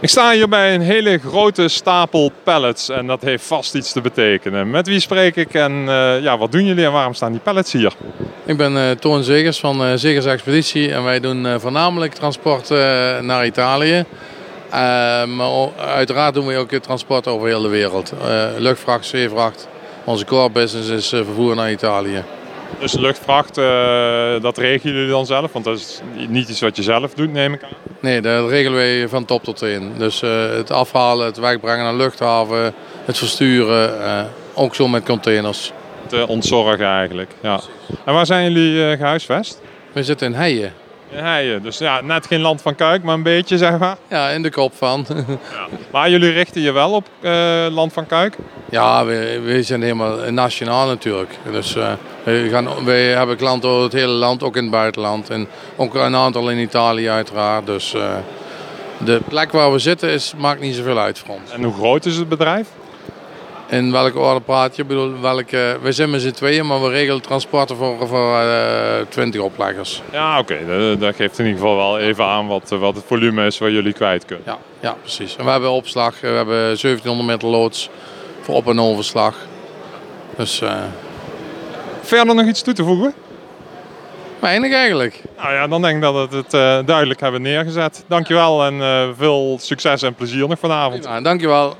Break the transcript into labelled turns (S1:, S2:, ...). S1: Ik sta hier bij een hele grote stapel pallets en dat heeft vast iets te betekenen. Met wie spreek ik en eh, ja, wat doen jullie en waarom staan die pallets hier?
S2: Ik ben eh, Toon Zegers van eh, Zegers Expeditie en wij doen eh, voornamelijk transport eh, naar Italië. Eh, maar o- uiteraard doen we ook eh, transport over heel de wereld. Eh, luchtvracht, zeevracht. Onze core business is eh, vervoer naar Italië.
S1: Dus luchtvracht, eh, dat regelen jullie dan zelf? Want dat is niet iets wat je zelf doet, neem ik aan.
S2: Nee, dat regelen wij van top tot teen. Dus eh, het afhalen, het wegbrengen naar de luchthaven, het versturen, eh, ook zo met containers.
S1: Te ontzorgen eigenlijk. Ja. En waar zijn jullie eh, gehuisvest?
S2: We zitten in Heien.
S1: In Heijen. Dus ja, net geen land van Kuik, maar een beetje zeg maar.
S2: Ja, in de kop van.
S1: Maar jullie richten je wel op eh, land van Kuik?
S2: Ja, we, we zijn helemaal nationaal natuurlijk. Dus eh, we, gaan, we hebben klanten over het hele land, ook in het buitenland. En ook een aantal in Italië uiteraard. Dus eh, de plek waar we zitten is, maakt niet zoveel uit voor ons.
S1: En hoe groot is het bedrijf?
S2: In welke orde praat je? Ik bedoel, welke, we zijn met z'n tweeën, maar we regelen transporten voor, voor eh 20 opleggers.
S1: Ja, oké. Dat, dat geeft in ieder geval wel even aan wat, eh, wat het volume is waar jullie kwijt kunnen.
S2: Ja, ja, precies. En we hebben opslag, eh, we hebben 1700 meter loods voor op- en overslag. Dus eh,
S1: Verder nog iets toe te voegen?
S2: weinig eigenlijk.
S1: Nou ja, dan denk ik dat we het eh, duidelijk hebben neergezet. Dankjewel en eh, veel succes en plezier nog vanavond.
S2: Nou, dankjewel.